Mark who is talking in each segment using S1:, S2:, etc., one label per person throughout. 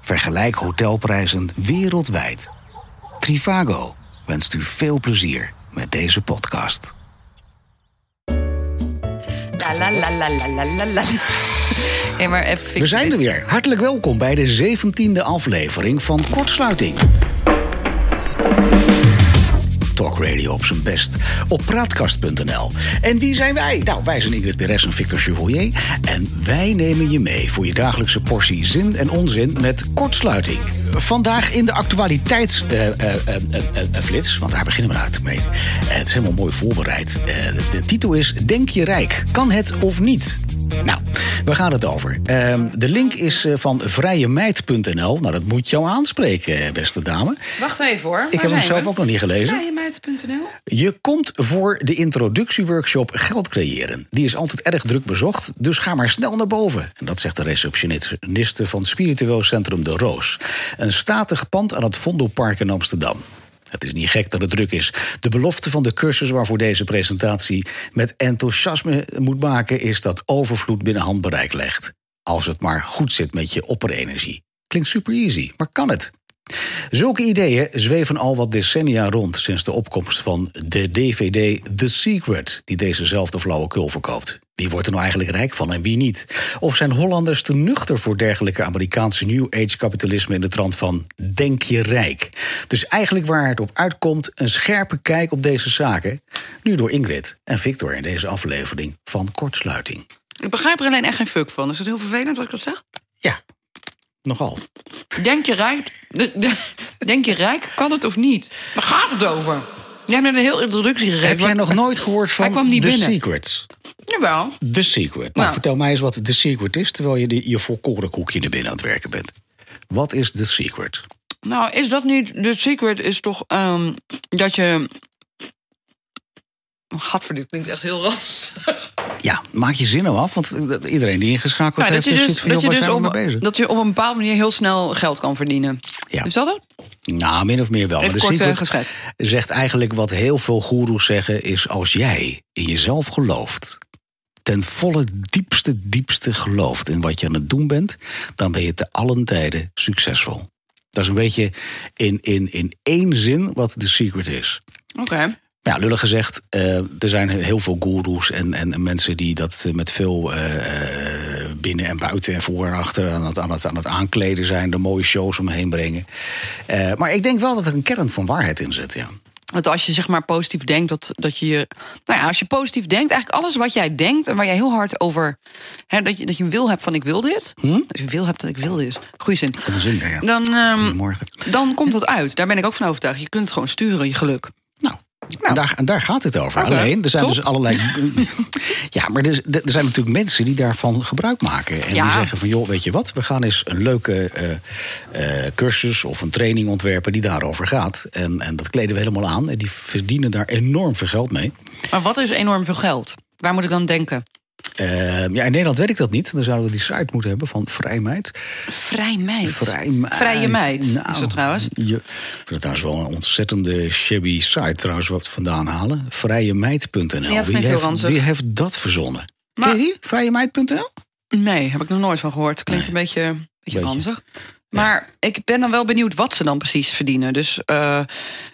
S1: Vergelijk hotelprijzen wereldwijd. Trivago wenst u veel plezier met deze podcast.
S2: La la la la la la la la. Hey, maar even fik-
S1: We zijn er weer. Hartelijk welkom bij de 17e aflevering van Kortsluiting. Talk Radio op zijn best op praatkast.nl. En wie zijn wij? Nou, wij zijn Ingrid Perez en Victor Chevalier. En wij nemen je mee voor je dagelijkse portie zin en onzin met kortsluiting. Vandaag in de eh, actualiteitsflits, eh, want daar beginnen we eigenlijk mee. Eh, het is helemaal mooi voorbereid. Eh, de titel is Denk je rijk? Kan het of niet? Nou, waar gaat het over? Ehm, de link is eh, van vrijemeid.nl. Nou, dat moet jou aanspreken, eh, beste dame.
S2: Wacht even hoor.
S1: Ik heb hem zelf ook nog niet gelezen.
S2: Vrijemeid.nl?
S1: Je komt voor de introductieworkshop Geld Creëren. Die is altijd erg druk bezocht, dus ga maar snel naar boven. En dat zegt de receptioniste van Spiritueel Centrum De Roos. Een statig pand aan het Vondelpark in Amsterdam. Het is niet gek dat het druk is. De belofte van de cursus waarvoor deze presentatie met enthousiasme moet maken... is dat overvloed binnen handbereik legt. Als het maar goed zit met je opperenergie. Klinkt super easy, maar kan het? Zulke ideeën zweven al wat decennia rond sinds de opkomst van de DVD The Secret, die dezezelfde flauwekul verkoopt. Wie wordt er nou eigenlijk rijk van en wie niet? Of zijn Hollanders te nuchter voor dergelijke Amerikaanse New Age kapitalisme in de trant van denk je rijk? Dus eigenlijk waar het op uitkomt, een scherpe kijk op deze zaken, nu door Ingrid en Victor in deze aflevering van Kortsluiting.
S2: Ik begrijp er alleen echt geen fuck van. Is het heel vervelend dat ik dat zeg?
S1: Ja, nogal.
S2: Denk je rijk? de- de- Denk je rijk? Kan het of niet? Waar gaat het over? Jij hebt net een heel introductie gegeven.
S1: Heb jij nog nooit gehoord van
S2: Hij kwam niet
S1: The
S2: binnen.
S1: Secret?
S2: Jawel.
S1: The Secret. Nou,
S2: Nou.
S1: vertel mij eens wat The Secret is, terwijl je de, je volkoren koekje er binnen aan het werken bent. Wat is The Secret?
S2: Nou, is dat niet... The secret is toch ehm, dat je... Oh, Gadver, dit klinkt echt heel lastig.
S1: Ja, maak je zin nou af, want eh, iedereen die ingeschakeld
S2: Nou, dat
S1: heeft,
S2: je
S1: is
S2: dus,
S1: zoiets van,
S2: dat je
S1: joh,
S2: dus
S1: waar zijn we
S2: op,
S1: mee bezig?
S2: dat je op een bepaalde manier heel snel geld kan verdienen.
S1: Ja.
S2: Is dat het?
S1: Nou, min of meer wel.
S2: Even
S1: maar The
S2: kort, eh,
S1: Secret
S2: geschetst.
S1: zegt eigenlijk wat heel veel goeroes zeggen, is als jij in jezelf gelooft, ten volle diepste, diepste gelooft in wat je aan het doen bent, dan ben je te allen tijden succesvol. Dat is een beetje in, in, in één zin wat The Secret is.
S2: Oké.
S1: Ja, lullig gezegd, eh, er zijn heel veel goeroes en, en, en mensen die dat eh, met veel eh, eh, binnen en buiten en voor en achter aan het, aan het, aan het aankleden zijn, er mooie shows omheen brengen. Eh, maar ik denk wel dat er een kern van waarheid in zit. Ja.
S2: Want als je zeg maar positief denkt, dat, dat je je. Nou ja, als je positief denkt, eigenlijk alles wat jij denkt en waar jij heel hard over. Hè, dat, je, dat je een wil hebt van ik wil dit.
S1: Hm?
S2: Dat je een wil hebt dat ik wil dit. Goeie zin.
S1: Wat een zin, ja.
S2: Dan, ehm,
S1: Goedemorgen.
S2: dan komt dat uit. Daar ben ik ook van overtuigd. Je kunt het gewoon sturen, je geluk.
S1: Nou, en daar, en daar gaat het over.
S2: Oké,
S1: Alleen, er zijn
S2: top.
S1: dus allerlei. ja, maar er, er zijn natuurlijk mensen die daarvan gebruik maken. En die
S2: Ja.
S1: zeggen van, joh, weet je wat, we gaan eens een leuke eh, eh, cursus of een training ontwerpen die daarover gaat. En, en dat kleden we helemaal aan. En die verdienen daar enorm veel geld mee.
S2: Maar wat is enorm veel geld? Waar moet ik dan denken?
S1: Eh, ja, in Nederland werkt dat niet. Dan zouden we die site moeten hebben van Vrijmeid.
S2: Vrij meid.
S1: Vrij meid.
S2: Vrije meid. is
S1: Nou,
S2: dat trouwens?
S1: Je, dat is wel een ontzettende shabby site trouwens, wat we vandaan halen. Vrijemeid.nl.
S2: Ja, dat
S1: wie,
S2: vind ik heel
S1: heeft,
S2: ranzig.
S1: wie heeft dat verzonnen?
S2: Maar-
S1: Ken je die? Vrijemeid.nl?
S2: Nee, heb ik nog nooit van gehoord. Klinkt een beetje, beetje, ranzig. Maar ik ben dan wel benieuwd wat ze dan precies verdienen. Dus eh,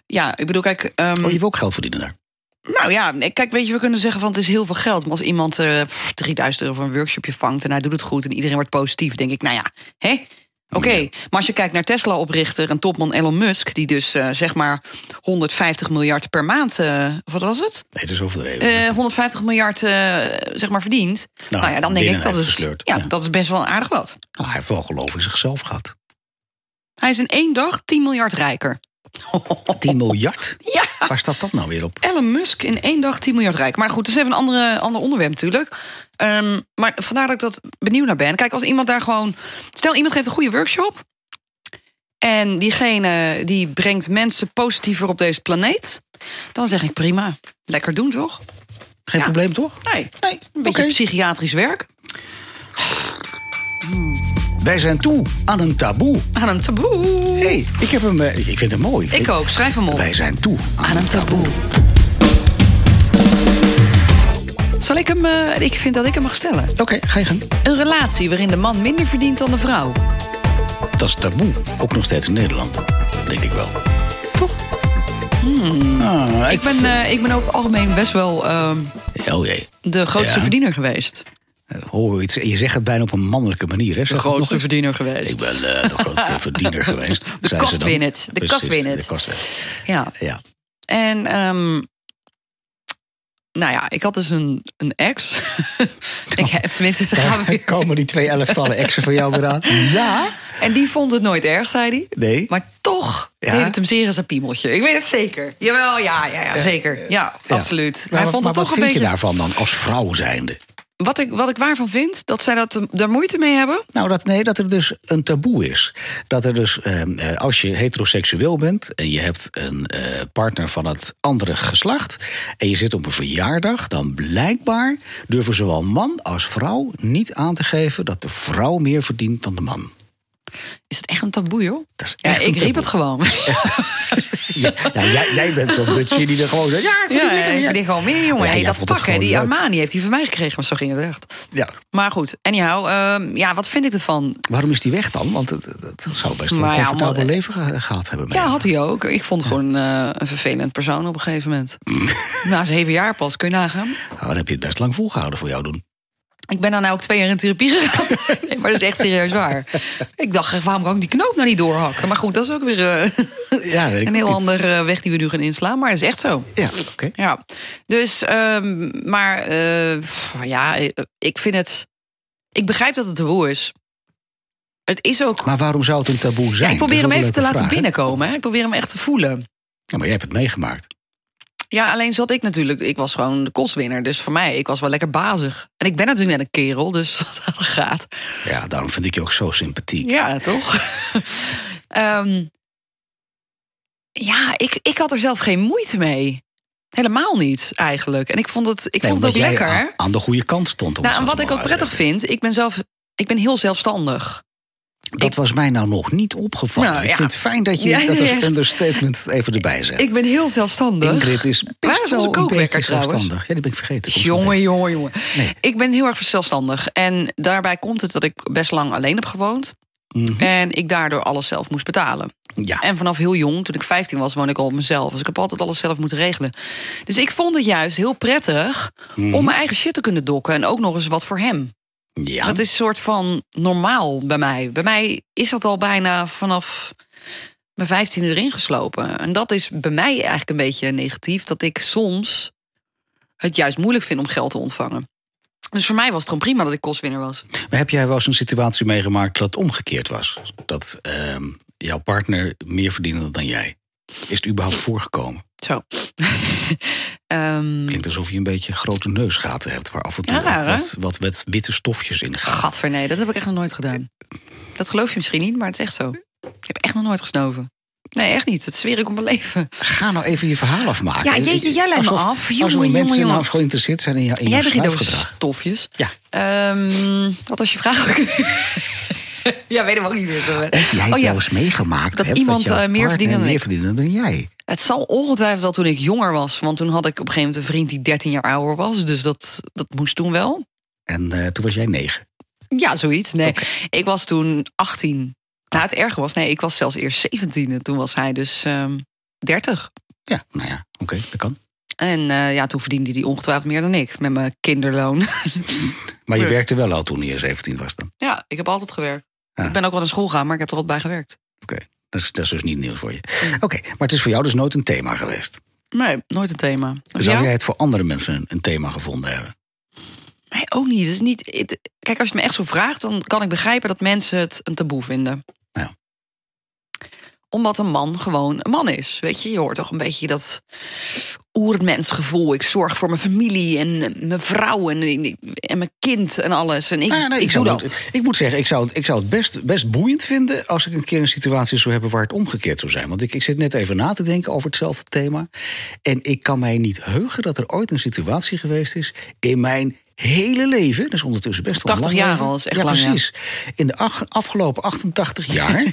S2: ja, ik bedoel, kijk. ehm,
S1: Oh, je wil ook geld verdienen daar.
S2: Nou ja, nee, kijk, weet je, we kunnen zeggen van het is heel veel geld. Maar als iemand eh, pff, 3000 euro voor een workshopje vangt en hij doet het goed en iedereen wordt positief, denk ik, nou ja, hè? Oké, maar als je kijkt naar Tesla-oprichter en topman Elon Musk, die dus eh, zeg maar 150 miljard per maand, eh, wat was het?
S1: Nee, dat is overdreven.
S2: Eh, 150 miljard eh, zeg maar verdient. Nou, ja, dan denk
S1: binnen
S2: ik dat
S1: heeft
S2: is,
S1: gesleurd,
S2: ja,
S1: ja.
S2: dat is best wel een aardig wat.
S1: Nou, hij heeft wel geloof in zichzelf gehad.
S2: Hij is in één dag 10 miljard rijker.
S1: 10 miljard?
S2: Oh. Ja!
S1: Waar staat dat nou weer op?
S2: Elon Musk in één dag 10 miljard rijk. Maar goed, dat is even een andere, ander onderwerp natuurlijk. Ehm, maar vandaar dat ik dat benieuwd naar ben. Kijk, als iemand daar gewoon... Stel, iemand geeft een goede workshop. En diegene die brengt mensen positiever op deze planeet. Dan zeg ik prima. Lekker doen, toch?
S1: Geen
S2: Ja.
S1: probleem toch?
S2: Nee.
S1: Nee,
S2: Een beetje
S1: oké.
S2: psychiatrisch werk.
S1: Wij zijn toe aan een taboe.
S2: Aan een taboe.
S1: Hé, hey, ik heb hem. eh, Ik vind hem mooi.
S2: Ik ook. Schrijf hem op.
S1: Wij zijn toe aan,
S2: Aan een taboe. Zal ik hem... eh, ik vind dat ik hem mag stellen.
S1: Oké, ga je gang.
S2: Een relatie waarin de man minder verdient dan de vrouw.
S1: dat is taboe. Ook nog steeds in Nederland. Denk ik wel. Toch? Ah,
S2: Hmm. Ik ben, eh, ik ben over het algemeen best wel ehm,
S1: Oh jee.
S2: de grootste
S1: Ja.
S2: verdiener geweest.
S1: Oh, iets- je zegt het bijna op een mannelijke manier, hè? Zeg
S2: De
S1: het nog
S2: grootste
S1: eens.
S2: verdiener geweest.
S1: Ik ben eh, de grootste verdiener geweest.
S2: De
S1: zei ze
S2: kast
S1: dan.
S2: win it. De
S1: Precies,
S2: kast win it.
S1: De kast win it.
S2: Ja.
S1: Ja.
S2: En ehm, nou ja, ik had dus een, een ex. ik heb tenminste, daar gaan we weer.
S1: Komen die twee elftallen exen van jou weer aan? Ja.
S2: En die vond het nooit erg, zei hij.
S1: Nee.
S2: Maar toch
S1: Ja?
S2: deed het hem zeer aan zijn piemeltje. Ik weet het zeker. Jawel, ja, ja, ja zeker. Ja,
S1: Ja.
S2: absoluut.
S1: Maar,
S2: Hij
S1: wat-
S2: vond
S1: maar
S2: het toch
S1: wat
S2: een
S1: vind
S2: beetje...
S1: je daarvan dan, als vrouw zijnde?
S2: Wat, ik, wat ik waarvan vind, dat zij dat, ehm, daar moeite mee hebben.
S1: Nou, dat, nee, dat er dus een taboe is. Dat er dus, ehm, eh, als je heteroseksueel bent en je hebt een eh, partner van het andere geslacht. en je zit op een verjaardag, dan blijkbaar durven zowel man als vrouw niet aan te geven dat de vrouw meer verdient dan de man.
S2: Is het echt een taboe, joh?
S1: Dat is
S2: Ja,
S1: echt een
S2: ik riep het
S1: taboe.
S2: gewoon.
S1: Ja, nou, jij, jij bent zo'n butchie die er gewoon zegt: ja, ik verdien
S2: Ja,
S1: lekker
S2: ik
S1: meer.
S2: verdien gewoon meer, jongen.
S1: Ja,
S2: Hey,
S1: jij
S2: dat
S1: vond het
S2: pak, hè,
S1: gewoon
S2: die
S1: leuk.
S2: Armani heeft hij van mij gekregen, maar zo ging het echt.
S1: Ja,
S2: Maar goed, anyhow, ehm, ja, wat vind ik ervan?
S1: waarom is die weg dan? Want het, het- het zou best wel een
S2: Maar ja,
S1: comfortabel
S2: omdat-
S1: leven ge- gehad hebben. met
S2: Ja,
S1: hem.
S2: had hij ook. Ik vond het gewoon eh, een vervelend persoon op een gegeven moment. Na zeven jaar pas, kun je nagaan.
S1: Nou, dan heb je het best lang volgehouden voor jou doen.
S2: Ik ben dan nou ook twee jaar in therapie gegaan. nee, maar dat is echt serieus waar. Ik dacht, echt, waarom kan ik die knoop nou niet doorhakken? Maar goed, dat is ook weer eh,
S1: Ja, weet ik
S2: een heel
S1: niet.
S2: andere weg die we nu gaan inslaan. Maar dat is echt zo.
S1: Ja, oké.
S2: Ja, dus, ehm, maar eh, pff, ja, eh, ik vind het... Ik begrijp dat het taboe is. Het is ook...
S1: Maar waarom zou het een taboe zijn?
S2: Ja, ik probeer
S1: Dat
S2: hem
S1: is
S2: even
S1: ook
S2: te
S1: een
S2: laten
S1: leuke vraag, hè?
S2: binnenkomen. Hè? Ik probeer hem echt te voelen.
S1: Ja, maar jij hebt het meegemaakt.
S2: Ja, alleen zat ik natuurlijk... Ik was gewoon de kostwinner. Dus voor mij, ik was wel lekker bazig. En ik ben natuurlijk net een kerel, dus wat dat gaat...
S1: Ja, daarom vind ik je ook zo sympathiek.
S2: Ja, toch? Ehm, ja, ik, ik had er zelf geen moeite mee. Helemaal niet, eigenlijk. En ik vond het, ik
S1: Nee,
S2: vond het ook
S1: omdat jij
S2: lekker.
S1: Aan, aan de goede kant stond. om
S2: nou, en
S1: het zo
S2: wat
S1: te
S2: ik ook
S1: mogen
S2: prettig vind, ik ben zelf... Ik ben heel zelfstandig.
S1: uitdrukken. Dat was mij nou nog niet opgevallen.
S2: Nou,
S1: ik
S2: ja.
S1: vind het fijn dat je
S2: Ja,
S1: dat als
S2: echt.
S1: understatement even erbij zegt.
S2: Ik ben heel zelfstandig.
S1: Ingrid is
S2: Waar
S1: best
S2: is
S1: wel
S2: onze
S1: een beetje
S2: kookwekker trouwens?
S1: zelfstandig. Ja, die ben ik vergeten. Komt zo meteen.
S2: Jongen, jongen, jongen.
S1: Nee.
S2: Ik ben heel erg zelfstandig. En daarbij komt het dat ik best lang alleen heb gewoond.
S1: Mhm.
S2: En ik daardoor alles zelf moest betalen.
S1: Ja.
S2: En vanaf heel jong, toen ik 15 was, woonde ik al op mezelf. Dus ik heb altijd alles zelf moeten regelen. Dus ik vond het juist heel prettig
S1: Mhm.
S2: om mijn eigen shit te kunnen dokken. En ook nog eens wat voor hem.
S1: ja.
S2: Dat is een soort van normaal bij mij. Bij mij is dat al bijna vanaf mijn 15 erin geslopen. En dat is bij mij eigenlijk een beetje negatief. Dat ik soms het juist moeilijk vind om geld te ontvangen. Dus voor mij was het gewoon prima dat ik kostwinner was.
S1: Maar heb jij wel eens een situatie meegemaakt dat het omgekeerd was? Dat ehm, jouw partner meer verdiende dan jij? Is het überhaupt voorgekomen?
S2: Zo. Ehm
S1: Klinkt alsof je een beetje grote neusgaten hebt... waar af en toe
S2: Ja, raar, hè?
S1: wat, wat, wat witte stofjes in gaan.
S2: Gadver, nee, dat heb ik echt nog nooit gedaan. Dat geloof je misschien niet, maar het is echt zo. Ik heb echt nog nooit gesnoven. Nee, echt niet. Dat zweer ik op mijn leven.
S1: Ga nou even je verhaal afmaken. Eh,
S2: Ja, jeetje, jij leidt me
S1: Alsof-
S2: af. Jongen,
S1: alsof
S2: jongen,
S1: mensen
S2: jongen.
S1: nou geïnteresseerd zijn in, jou, in
S2: Jij
S1: jouw
S2: begint over
S1: snuifgedrag.
S2: stofjes.
S1: Ja.
S2: Ehm, wat was je vraag ook? weer? ja, weet ik ook niet meer zo.
S1: Of jij
S2: Oh ja,
S1: wel eens meegemaakt
S2: Dat
S1: hebt
S2: iemand,
S1: dat jouw
S2: eh, meer
S1: partner
S2: verdiende dan
S1: meer
S2: ik.
S1: verdiende dan jij.
S2: het zal ongetwijfeld al toen ik jonger was. Want toen had ik op een gegeven moment een vriend die 13 jaar ouder was. Dus dat, dat moest toen wel.
S1: En eh, toen was jij negen.
S2: Ja, zoiets. Nee, ik was toen 18. Nou, het erge was, nee, ik was zelfs eerst 17. En toen was hij dus ehm 30.
S1: Ja, nou ja, oké, dat kan.
S2: En eh, ja, toen verdiende hij ongetwijfeld meer dan ik met mijn kinderloon.
S1: Maar je
S2: Ja.
S1: werkte wel al toen je 17 was dan.
S2: ja, ik heb altijd gewerkt.
S1: Ja.
S2: Ik ben ook wel naar school gegaan, maar ik heb er altijd bij gewerkt.
S1: Oké, dat, is, dat is dus niet nieuws voor je. Oké, maar het is voor jou dus nooit een thema geweest.
S2: Nee, nooit een thema. Dus
S1: Zou
S2: jou?
S1: jij het voor andere mensen een, een thema gevonden hebben?
S2: Nee, ook niet. Het is niet het- kijk, als je het me echt zo vraagt, dan kan ik begrijpen dat mensen het een taboe vinden.
S1: Ja.
S2: Omdat een man gewoon een man is. Weet je, je hoort toch een beetje dat oermensgevoel. Ik zorg voor mijn familie en mijn vrouw en, en mijn kind en alles. En ik,
S1: Nou ja, nee,
S2: ik, doe
S1: zou
S2: dat.
S1: het- ik moet zeggen, ik zou het, ik zou het best, best boeiend vinden als ik een keer een situatie zou hebben waar het omgekeerd zou zijn. Want ik, ik zit net even na te denken over hetzelfde thema. En ik kan mij niet heugen dat er ooit een situatie geweest is in mijn hele leven. Dat is ondertussen best wel
S2: 80
S1: lang
S2: jaar
S1: leven.
S2: al, is echt
S1: ja,
S2: lang, ja.
S1: Precies. In de ach- afgelopen 88 jaar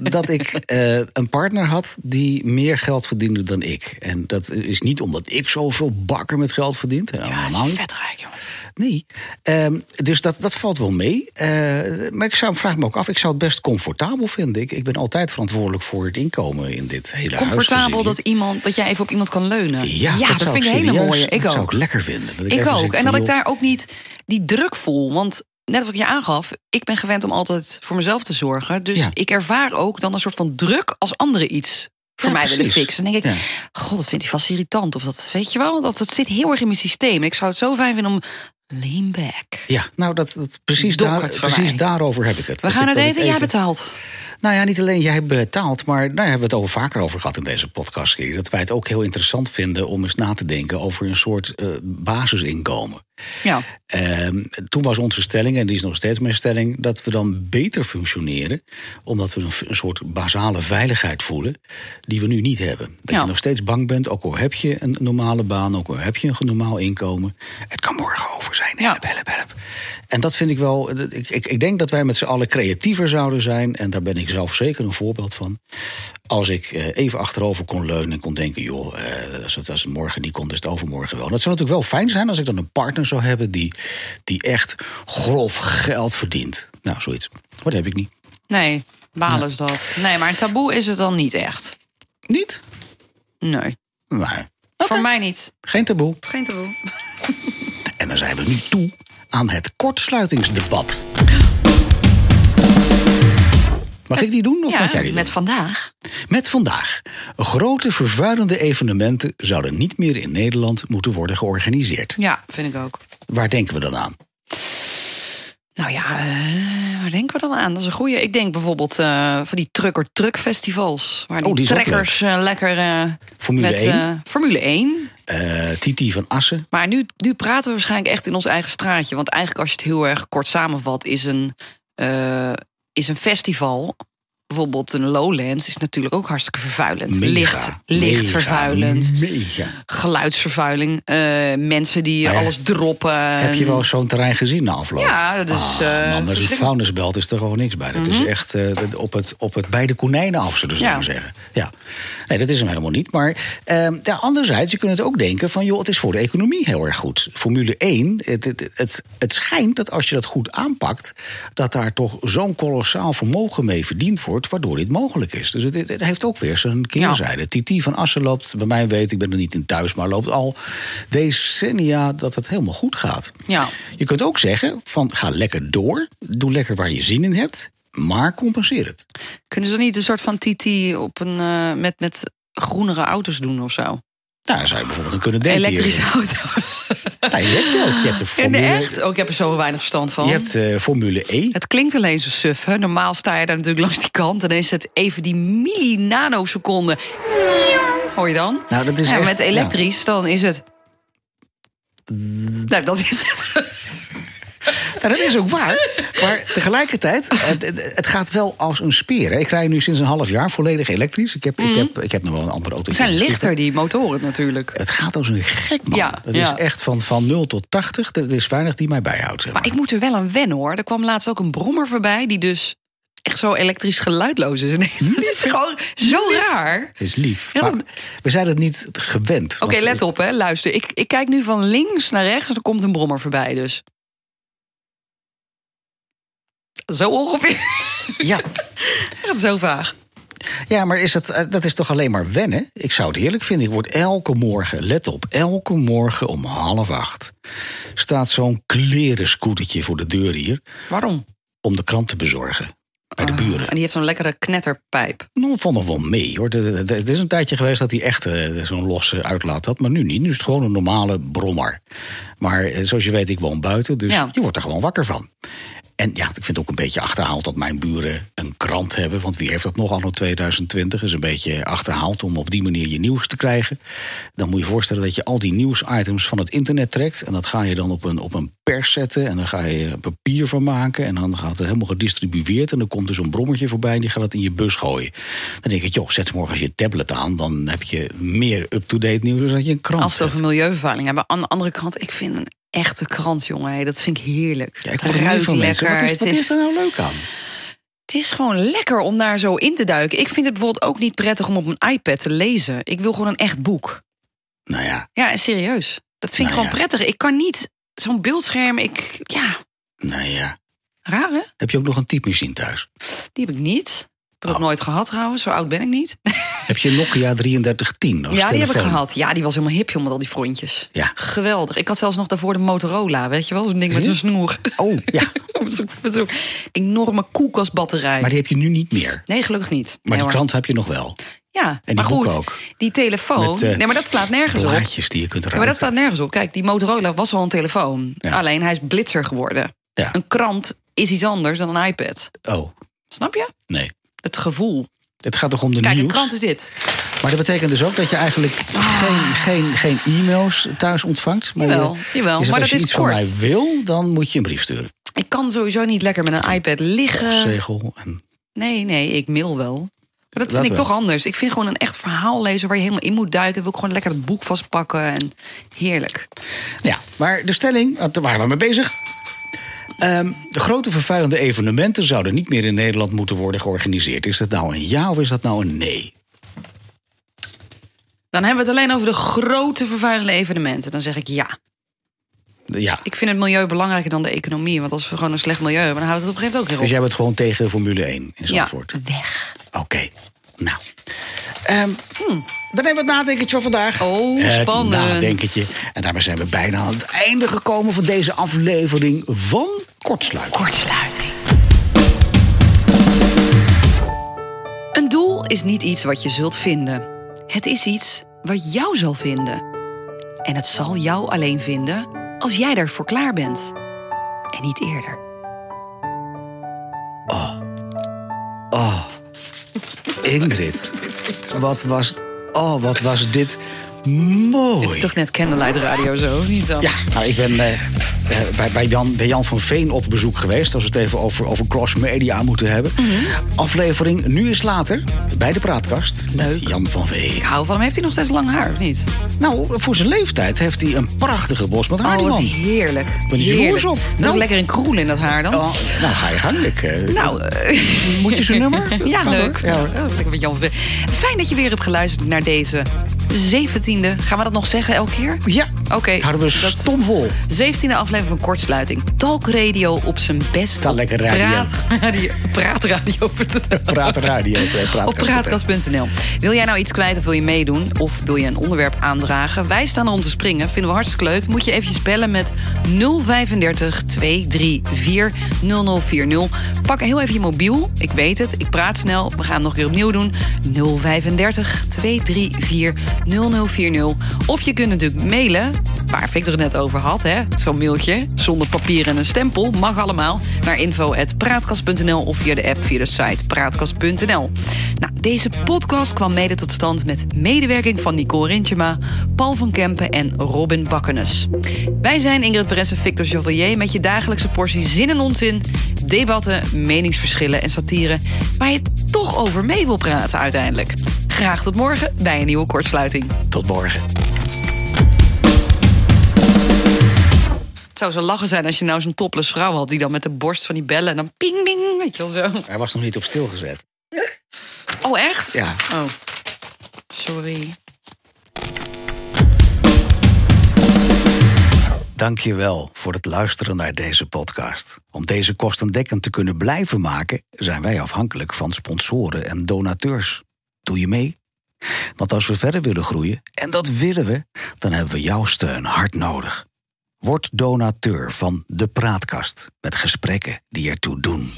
S1: dat ik eh, een partner had die meer geld verdiende dan ik. En dat is niet omdat ik zoveel bakker met geld verdient.
S2: Ja,
S1: Helemaal
S2: dat is
S1: niet.
S2: vet rijk, jongens.
S1: Nee. Ehm, dus dat, dat valt wel mee. Eh, maar ik zou, vraag me ook af, ik zou het best comfortabel vinden. Ik, ik ben altijd verantwoordelijk voor het inkomen in dit hele
S2: Comfortabel
S1: huisgezin.
S2: dat, iemand, dat jij even op iemand kan leunen.
S1: Ja, dat, zou
S2: vind ik
S1: ik
S2: een hele
S1: serieus-
S2: mooie. Ik
S1: dat zou
S2: ook.
S1: ik dus lekker vinden. Dat
S2: Ik
S1: even zeg
S2: ook. En
S1: van,
S2: dat ik
S1: joh,
S2: daar ook niet die druk voel. Want net wat ik je aangaf, ik ben gewend om altijd voor mezelf te zorgen. Dus
S1: Ja.
S2: ik ervaar ook dan een soort van druk als anderen iets voor
S1: Ja,
S2: mij willen
S1: precies.
S2: fixen. Dan denk ik, god, dat vindt hij vast irritant. Of dat weet je wel, dat, dat zit heel erg in mijn systeem. En ik zou het zo fijn vinden om lean back.
S1: Ja, nou, dat, dat, precies,
S2: Dokkert
S1: daar,
S2: voor
S1: precies
S2: mij.
S1: daarover heb ik het.
S2: We gaan het
S1: het
S2: eten, jij betaalt.
S1: Nou ja, niet alleen jij betaalt, maar nou, daar hebben we het al vaker over gehad in deze podcast. Kiki, Dat wij het ook heel interessant vinden om eens na te denken over een soort eh, basisinkomen.
S2: Ja.
S1: Ehm, toen was onze stelling, en die is nog steeds mijn stelling, dat we dan beter functioneren. Omdat we een, v- een soort basale veiligheid voelen die we nu niet hebben. Dat
S2: Ja.
S1: je nog steeds bang bent, ook al heb je een normale baan, ook al heb je een normaal inkomen. Het kan morgen over zijn.
S2: Ja.
S1: Help, help, help. En dat vind ik wel. Ik, ik, ik denk dat wij met z'n allen creatiever zouden zijn. En daar ben ik zelf zeker een voorbeeld van. Als ik eh, even achterover kon leunen en kon denken: joh, eh, als, het, als het morgen niet komt, is het overmorgen wel. Dat zou natuurlijk wel fijn zijn als ik dan een partner zou hebben die, die echt grof geld verdient. Nou, zoiets. Maar dat heb ik niet.
S2: Nee, balen is dat. Nee, maar een taboe is het dan niet echt.
S1: Niet?
S2: Nee.
S1: Maar
S2: Voor mij niet.
S1: geen taboe.
S2: Geen taboe.
S1: En dan zijn we nu toe aan het kortsluitingsdebat. Mag ik die doen of moet jij
S2: Ja,
S1: die doen?
S2: met vandaag.
S1: Met vandaag. Grote vervuilende evenementen zouden niet meer in Nederland moeten worden georganiseerd.
S2: Ja, vind ik ook.
S1: Waar denken we dan aan?
S2: Nou ja, eh, waar denken we dan aan? Dat is een goeie. Ik denk bijvoorbeeld eh, van die trucker-truck festivals. Waar die,
S1: Oh, die is ook
S2: trekkers eh, lekker eh,
S1: Formule
S2: met
S1: 1,
S2: eh, Formule 1.
S1: eh, Titi van Assen.
S2: Maar nu, nu praten we waarschijnlijk echt in ons eigen straatje. Want eigenlijk als je het heel erg kort samenvat, is een, eh, is een festival. Bijvoorbeeld een Lowlands is natuurlijk ook hartstikke vervuilend.
S1: Mega, Mm.
S2: licht licht
S1: mega,
S2: vervuilend.
S1: Mega.
S2: Geluidsvervuiling. eh, mensen die
S1: Maar Nou ja,
S2: alles droppen.
S1: Heb je wel eens zo'n terrein gezien na afloop?
S2: Ehm, Ja, dat is,
S1: Ah, man,
S2: eh,
S1: dat is het
S2: verschrikkelijk. Mhm.
S1: vuilnisbelt is er gewoon niks bij. Dat is echt eh, op, het, op het bij de konijnen af, zullen ze
S2: Ja.
S1: maar zeggen. Ja. Nee, dat is hem helemaal niet. Maar eh, ja, anderzijds, je kunt het ook denken van... joh, het is voor de economie heel erg goed. Formule 1, het, het, het, het schijnt dat als je dat goed aanpakt... dat daar toch zo'n kolossaal vermogen mee verdiend wordt... waardoor dit mogelijk is. Dus het, het, het heeft ook weer zijn keerzijde. Titi van Assen loopt, bij mij weet, ik ben er niet in thuis... maar loopt al decennia dat het helemaal goed gaat.
S2: Ja.
S1: Je kunt ook zeggen van ga lekker door, doe lekker waar je zin in hebt, maar compenseer het.
S2: Kunnen ze niet een soort van TT op een, eh, met, met groenere auto's doen of zo?
S1: Nou, daar zou je bijvoorbeeld aan kunnen denken.
S2: Elektrische
S1: Hier.
S2: auto's.
S1: Nou, je hebt ook, je hebt de
S2: In de
S1: Formule, E,
S2: echt? Ook heb er zo weinig verstand van.
S1: Je hebt, eh, Formule E.
S2: Het klinkt alleen zo suf, hè? Normaal sta je daar natuurlijk langs die kant... en dan is het even die milli-nanoseconde. Hoor je dan?
S1: Nou, dat is
S2: ja,
S1: echt-
S2: met elektrisch, dan is het... Nou, dat is het.
S1: Nou, dat is ook waar. Maar tegelijkertijd, het, het- het gaat wel als een speer. hè. Ik rij nu sinds een half jaar volledig elektrisch. Ik heb, ik heb, ik heb nog wel een andere auto.
S2: Het Mhm. zijn
S1: Ik heb een
S2: lichter, die motoren natuurlijk.
S1: Het gaat als een gek, man.
S2: Ja,
S1: dat
S2: ja.
S1: is echt van, van 0 tot 80. Er is weinig die mij bijhoudt. Zeg
S2: Maar ik moet er wel aan wennen, hoor. Er kwam laatst ook een brommer voorbij... die dus echt zo elektrisch geluidloos is. Het is gewoon zo raar.
S1: is lief.
S2: Ja,
S1: Maar
S2: dan-
S1: we zijn het niet gewend.
S2: Oké,
S1: want-
S2: let op, hè. Luister, ik, ik kijk nu van links naar rechts. Er komt een brommer voorbij, dus. Zo ongeveer.
S1: Ja,
S2: Echt zo vaag.
S1: Ja, maar is het, eh, dat is toch alleen maar wennen? Ik zou het heerlijk vinden. Ik word elke morgen, let op, elke morgen om half acht... staat zo'n klerenskoetertje voor de deur hier...
S2: Waarom?
S1: om de krant te bezorgen. Bij de buren.
S2: En die heeft zo'n lekkere knetterpijp.
S1: Nou, vond nog wel mee, hoor. De- de- de- Het is een tijdje geweest dat hij echt eh, zo'n losse uitlaat had. Maar nu niet. Nu is het gewoon een normale brommer. Maar eh, zoals je weet, ik woon buiten. Dus
S2: Ja.
S1: je wordt er gewoon wakker van. En ja, ik vind het ook een beetje achterhaald dat mijn buren een krant hebben. Want wie heeft dat nog anno 2020? Is een beetje achterhaald om op die manier je nieuws te krijgen. Dan moet je je voorstellen dat je al die nieuwsitems van het internet trekt. En dat ga je dan op een, op een pers zetten. En dan ga je papier van maken. En dan gaat het helemaal gedistribueerd. En dan komt er zo'n brommertje voorbij en die gaat het in je bus gooien. Dan denk ik, joh, zet 's morgens je tablet aan. Dan heb je meer up-to-date nieuws dan dat je een krant
S2: Als we het
S1: hebt.
S2: over milieuvervuiling hebben. Aan de andere kant, ik vind een echte krant, jongen. hè. Dat vind ik heerlijk.
S1: Ja,
S2: Het
S1: ik hoor er mee
S2: ruikt
S1: van mensen. Wat is,
S2: Het
S1: wat
S2: is-
S1: is er nou leuk aan?
S2: Het is gewoon lekker om daar zo in te duiken. Ik vind het bijvoorbeeld ook niet prettig om op mijn iPad te lezen. Ik wil gewoon een echt boek.
S1: Nou ja,
S2: Ja, en serieus. Dat vind ik
S1: Nou
S2: gewoon prettig. Ik kan niet zo'n beeldscherm, ik, ja,
S1: Nou ja.
S2: raar hè?
S1: Heb je ook nog een typemachine thuis?
S2: Die heb ik niet. Heb ik ook
S1: Oh.
S2: nooit gehad trouwens, zo oud ben ik niet.
S1: Heb je een Nokia 3310 als
S2: ja, die heb ik
S1: telefoon?
S2: gehad. Ja, die was helemaal hip, joh, met al die frontjes.
S1: Ja.
S2: Geweldig. Ik had zelfs nog daarvoor de Motorola, weet je wel? Zo'n ding met
S1: Hm?
S2: zo'n snoer.
S1: Oh, ja.
S2: Met zo'n- met zo'n enorme koelkastbatterij.
S1: Maar die heb je nu niet meer.
S2: Nee, gelukkig niet.
S1: Maar
S2: Nee,
S1: die
S2: hoor.
S1: krant heb je nog wel.
S2: Ja,
S1: die
S2: maar
S1: boeken
S2: goed,
S1: ook.
S2: die telefoon...
S1: Met, eh,
S2: nee, maar dat slaat nergens op.
S1: Blaadjes die je kunt ruiken.
S2: Maar dat staat nergens op. Kijk, die Motorola was al een telefoon.
S1: Ja.
S2: Alleen hij is blitzer geworden.
S1: Ja.
S2: Een krant is iets anders dan een iPad.
S1: Oh,
S2: Snap je?
S1: nee.
S2: Het gevoel.
S1: Het gaat toch om de
S2: Kijk,
S1: nieuws?
S2: een krant is dit.
S1: Maar dat betekent dus ook dat je eigenlijk geen, geen, geen e-mails thuis ontvangt. Maar
S2: Jawel,
S1: je-
S2: jawel,
S1: Is het
S2: maar
S1: als
S2: dat
S1: je
S2: is
S1: iets
S2: kort.
S1: van mij wil, dan moet je een brief sturen.
S2: Ik kan sowieso niet lekker met een iPad liggen.
S1: Postzegel. En,
S2: Nee, nee, ik mail wel. Maar dat,
S1: Dat
S2: vind ik
S1: wel.
S2: toch anders. Ik vind gewoon een echt verhaal lezen waar je helemaal in moet duiken. Wil ik gewoon lekker het boek vastpakken en heerlijk.
S1: ja, maar de stelling, want daar waren we mee bezig. Ehm, de grote vervuilende evenementen zouden niet meer in Nederland moeten worden georganiseerd. Is dat nou een ja of is dat nou een nee?
S2: Dan hebben we het alleen over de grote vervuilende evenementen. Dan zeg ik ja.
S1: Ja.
S2: Ik vind het milieu belangrijker dan de economie. Want als we gewoon een slecht milieu hebben, dan houdt het op een gegeven moment ook
S1: Dus jij
S2: weer op.
S1: bent gewoon tegen Formule 1 in Zandvoort?
S2: ja, weg.
S1: Oké. Nou. Ehm, Dan hebben we het nadenkertje van vandaag.
S2: Oh,
S1: het
S2: spannend.
S1: nadenkertje. En daarmee zijn we bijna aan het einde gekomen van deze aflevering van Kortsluit.
S2: Kortsluiting. Een doel is niet iets wat je zult vinden. Het is iets wat jou zal vinden. En het zal jou alleen vinden als jij daarvoor klaar bent. En niet eerder.
S1: Oh, Ingrid. Wat was, oh, wat was dit mooi.
S2: Het is toch net Candlelight Radio zo, of niet dan?
S1: Ja, nou, ik ben eh, eh, bij, bij, Jan, bij Jan van Veen op bezoek geweest. Als we het even over, over cross-media moeten hebben.
S2: Mhm.
S1: Aflevering Nu is Later bij de Praatkast. Met
S2: Leuk.
S1: Jan van Veen.
S2: Ik hou van hem. Heeft hij nog steeds lang haar, of niet?
S1: Nou, voor zijn leeftijd heeft hij een prachtige bos met haar, die
S2: oh, wat
S1: man.
S2: heerlijk.
S1: ben hier
S2: heerlijk.
S1: jaloers op.
S2: Nog
S1: Nou.
S2: lekker een kroel in dat haar dan.
S1: Oh, nou, ga je gang. Ik, eh,
S2: Nou, eh,
S1: Moet je zijn nummer? Dat
S2: Ja,
S1: kan
S2: leuk.
S1: hoor. Ja, hoor.
S2: Oh, lekker met Jan van Veen. Fijn dat je weer hebt geluisterd naar deze 17e. Gaan we dat nog zeggen elke keer?
S1: Ja,
S2: Oké.
S1: houden we
S2: dat-
S1: stom vol.
S2: 17e aflevering van Kortsluiting. Talkradio op zijn best.
S1: Sta
S2: op
S1: lekker radio.
S2: praatradio- Praatradio.nl
S1: Praat radio. eh, praatkast.
S2: op praatkast.nl. Wil jij nou iets kwijt of wil je meedoen? Of wil je een onderwerp aandragen? Wij staan er om te springen. Vinden we hartstikke leuk. Moet je eventjes bellen met 035 234 0040. Pak heel even je mobiel. Ik weet het. Ik praat snel. We gaan het nog een keer opnieuw doen. 035 234 0040. Of je kunt natuurlijk mailen. Waar Victor het net over had, hè? Zo'n mailtje. Zonder papier en een stempel. Mag allemaal. Naar info.praatkast.nl of via de app via de site praatkast.nl. Nou, deze podcast kwam mede tot stand met medewerking van Nico Rintjema, Paul van Kempen en Robin Bakkenes. Wij zijn Ingrid Perez en Victor Chevalier met je dagelijkse portie zin en onzin, debatten, meningsverschillen en satire waar je toch over mee wil praten uiteindelijk. Graag tot morgen bij een nieuwe kortsluiting.
S1: Tot morgen.
S2: Het zou zo lachen zijn als je nou zo'n topless vrouw had die dan met de borst van die bellen en dan ping ding, weet je wel zo.
S1: Hij was nog niet op stil gezet.
S2: Oh, echt?
S1: Ja.
S2: Oh. Sorry.
S1: Dank je wel voor het luisteren naar deze podcast. Om deze kostendekkend te kunnen blijven maken, zijn wij afhankelijk van sponsoren en donateurs. Doe je mee? Want als we verder willen groeien, en dat willen we, dan hebben we jouw steun hard nodig. Word donateur van De Praatkast met gesprekken die ertoe doen.